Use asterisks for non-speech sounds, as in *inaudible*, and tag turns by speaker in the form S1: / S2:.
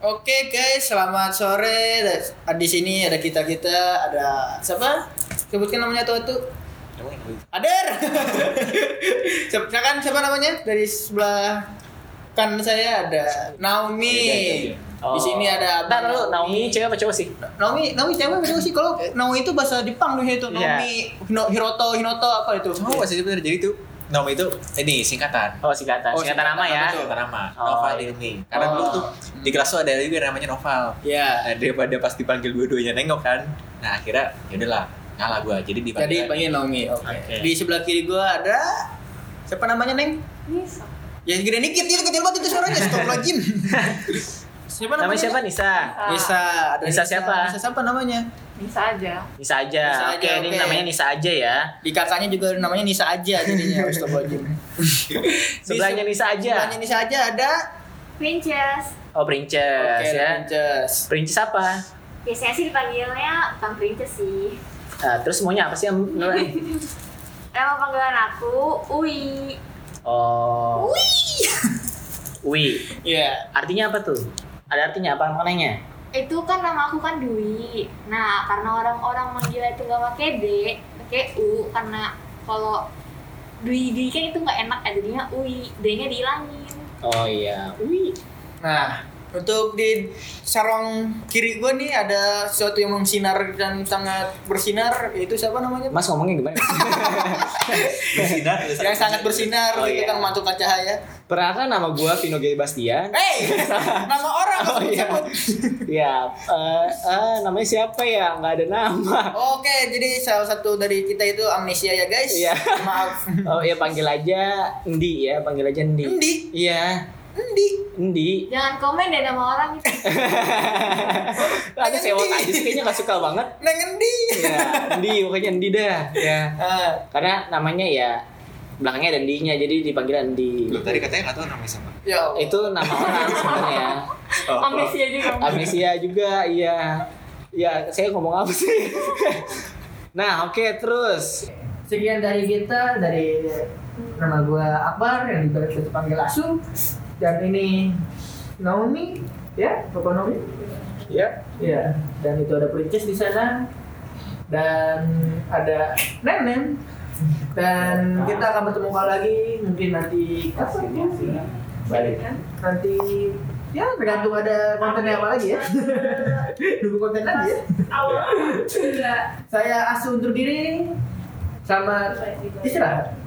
S1: Oke guys, selamat sore. Da- Di sini ada kita kita, ada siapa? Sebutkan namanya tuh tuh. Ader. *laughs* siapa siapa namanya? Dari sebelah kan saya ada
S2: Iya,
S1: Naomi. Di sini ada
S2: Oh. Ntar lu Naomi cewek apa cowok sih?
S1: Naomi, Naomi cewek apa sih? Kalau Naomi itu bahasa Jepang tuh itu
S2: Iya.
S1: Naomi, Hino- Hiroto, Hinoto apa itu?
S3: Oh, masih sebenarnya jadi tuh nama itu ini singkatan.
S2: Oh singkatan,
S1: Oh,
S2: singkatan nama ya.
S3: Singkatan nama.
S2: Oh,
S3: Noval
S2: iya.
S3: Ilmi. Karena dulu
S1: Oh.
S3: tuh di kelas tuh ada juga namanya Noval.
S1: Ya.
S2: Iya,
S3: Nah, daripada pas dipanggil dua-duanya nengok kan. Nah, akhirnya ya udahlah, ngalah gua. Jadi
S1: Jadi
S3: dipanggil
S1: panggil Naomi. Oke.
S2: Oke.
S1: Di sebelah kiri gua ada siapa namanya, Neng?
S4: Nisa.
S1: Ya gede dikit, itu kecil banget itu
S2: *laughs*
S1: suaranya, stop lagi. siapa
S2: Namanya siapa Nisa?
S4: Ah.
S1: Nisa. Ada
S2: Nisa siapa?
S1: Nisa siapa namanya?
S4: Bisa aja.
S2: Nisa aja.
S1: Nisa aja,
S2: Oke, ini
S1: oke.
S2: namanya Nisa aja ya.
S1: Di kakaknya juga namanya Nisa aja
S2: *laughs*
S1: jadinya, stop lagi.
S2: Sebelahnya Nisa aja.
S1: Sebelahnya Nisa aja ada.
S4: Princess.
S2: Oh Princess ya.
S1: Lanjut.
S2: Princess apa?
S4: Biasanya sih dipanggilnya bukan Princess sih.
S2: Nah, terus maunya apa sih yang *laughs* Nurani?
S4: Nama panggilan aku Ui.
S2: Oh. Wi. Wi.
S1: Iya.
S2: Artinya apa tuh? Ada artinya apa maknanya?
S4: Itu kan nama aku kan Dwi. Nah, karena orang-orang manggil itu nggak pakai D, pakai U karena kalau Dwi Dwi kan itu nggak enak jadinya Ui. D-nya dihilangin.
S2: Oh iya.
S4: Ui.
S1: Nah, untuk di sarong kiri gue nih ada sesuatu yang bersinar dan sangat bersinar yaitu siapa namanya?
S2: Mas ngomongnya gimana?
S3: bersinar
S1: *laughs* Yang sangat bersinar
S2: Oh,
S1: gitu
S2: iya.
S1: kan memantulkan cahaya.
S2: *laughs* Perkenalkan nama gua Vino Gay Bastian.
S1: Hey,
S2: *laughs*
S1: nama orang
S2: Oh,
S1: kamu
S2: iya.
S1: sebut.
S2: Ya, eh, eh, namanya siapa ya? Nggak ada nama.
S1: Oke, jadi salah satu dari kita itu amnesia ya guys.
S2: Iya.
S1: Maaf.
S2: Oh ya panggil aja Endi ya, panggil aja Endi.
S1: Endi?
S2: Iya,
S1: Endi.
S2: Endi.
S4: Jangan komen deh nama orang itu.
S2: Ada sewot aja sih kayaknya gak suka banget.
S1: Neng Endi.
S2: Ya, Endi pokoknya Endi dah. Ya.
S1: Ah,
S2: Karena namanya ya belakangnya ada Endinya, jadi dipanggil Endi.
S3: Loh, tadi katanya nggak tahu namanya siapa.
S1: ya. Allah.
S2: Itu nama orang sebenarnya.
S1: Oh.
S4: Amnesia juga.
S2: Amnesia juga, iya. Ya, saya ngomong apa sih? *laughs* nah, oke terus.
S1: Sekian dari kita dari nama gua Akbar yang dibalik itu panggil Asu dan ini Naomi ya Bapak Naomi
S2: Ya.
S1: ya dan itu ada Princess di sana dan ada Nenen dan kita akan bertemu kali lagi mungkin nanti kapan ya
S2: Balik.
S1: nanti ya tergantung ada kontennya apa lagi ya dukung konten lagi ya
S4: Awal. Enggak.
S1: saya Asu undur diri selamat istirahat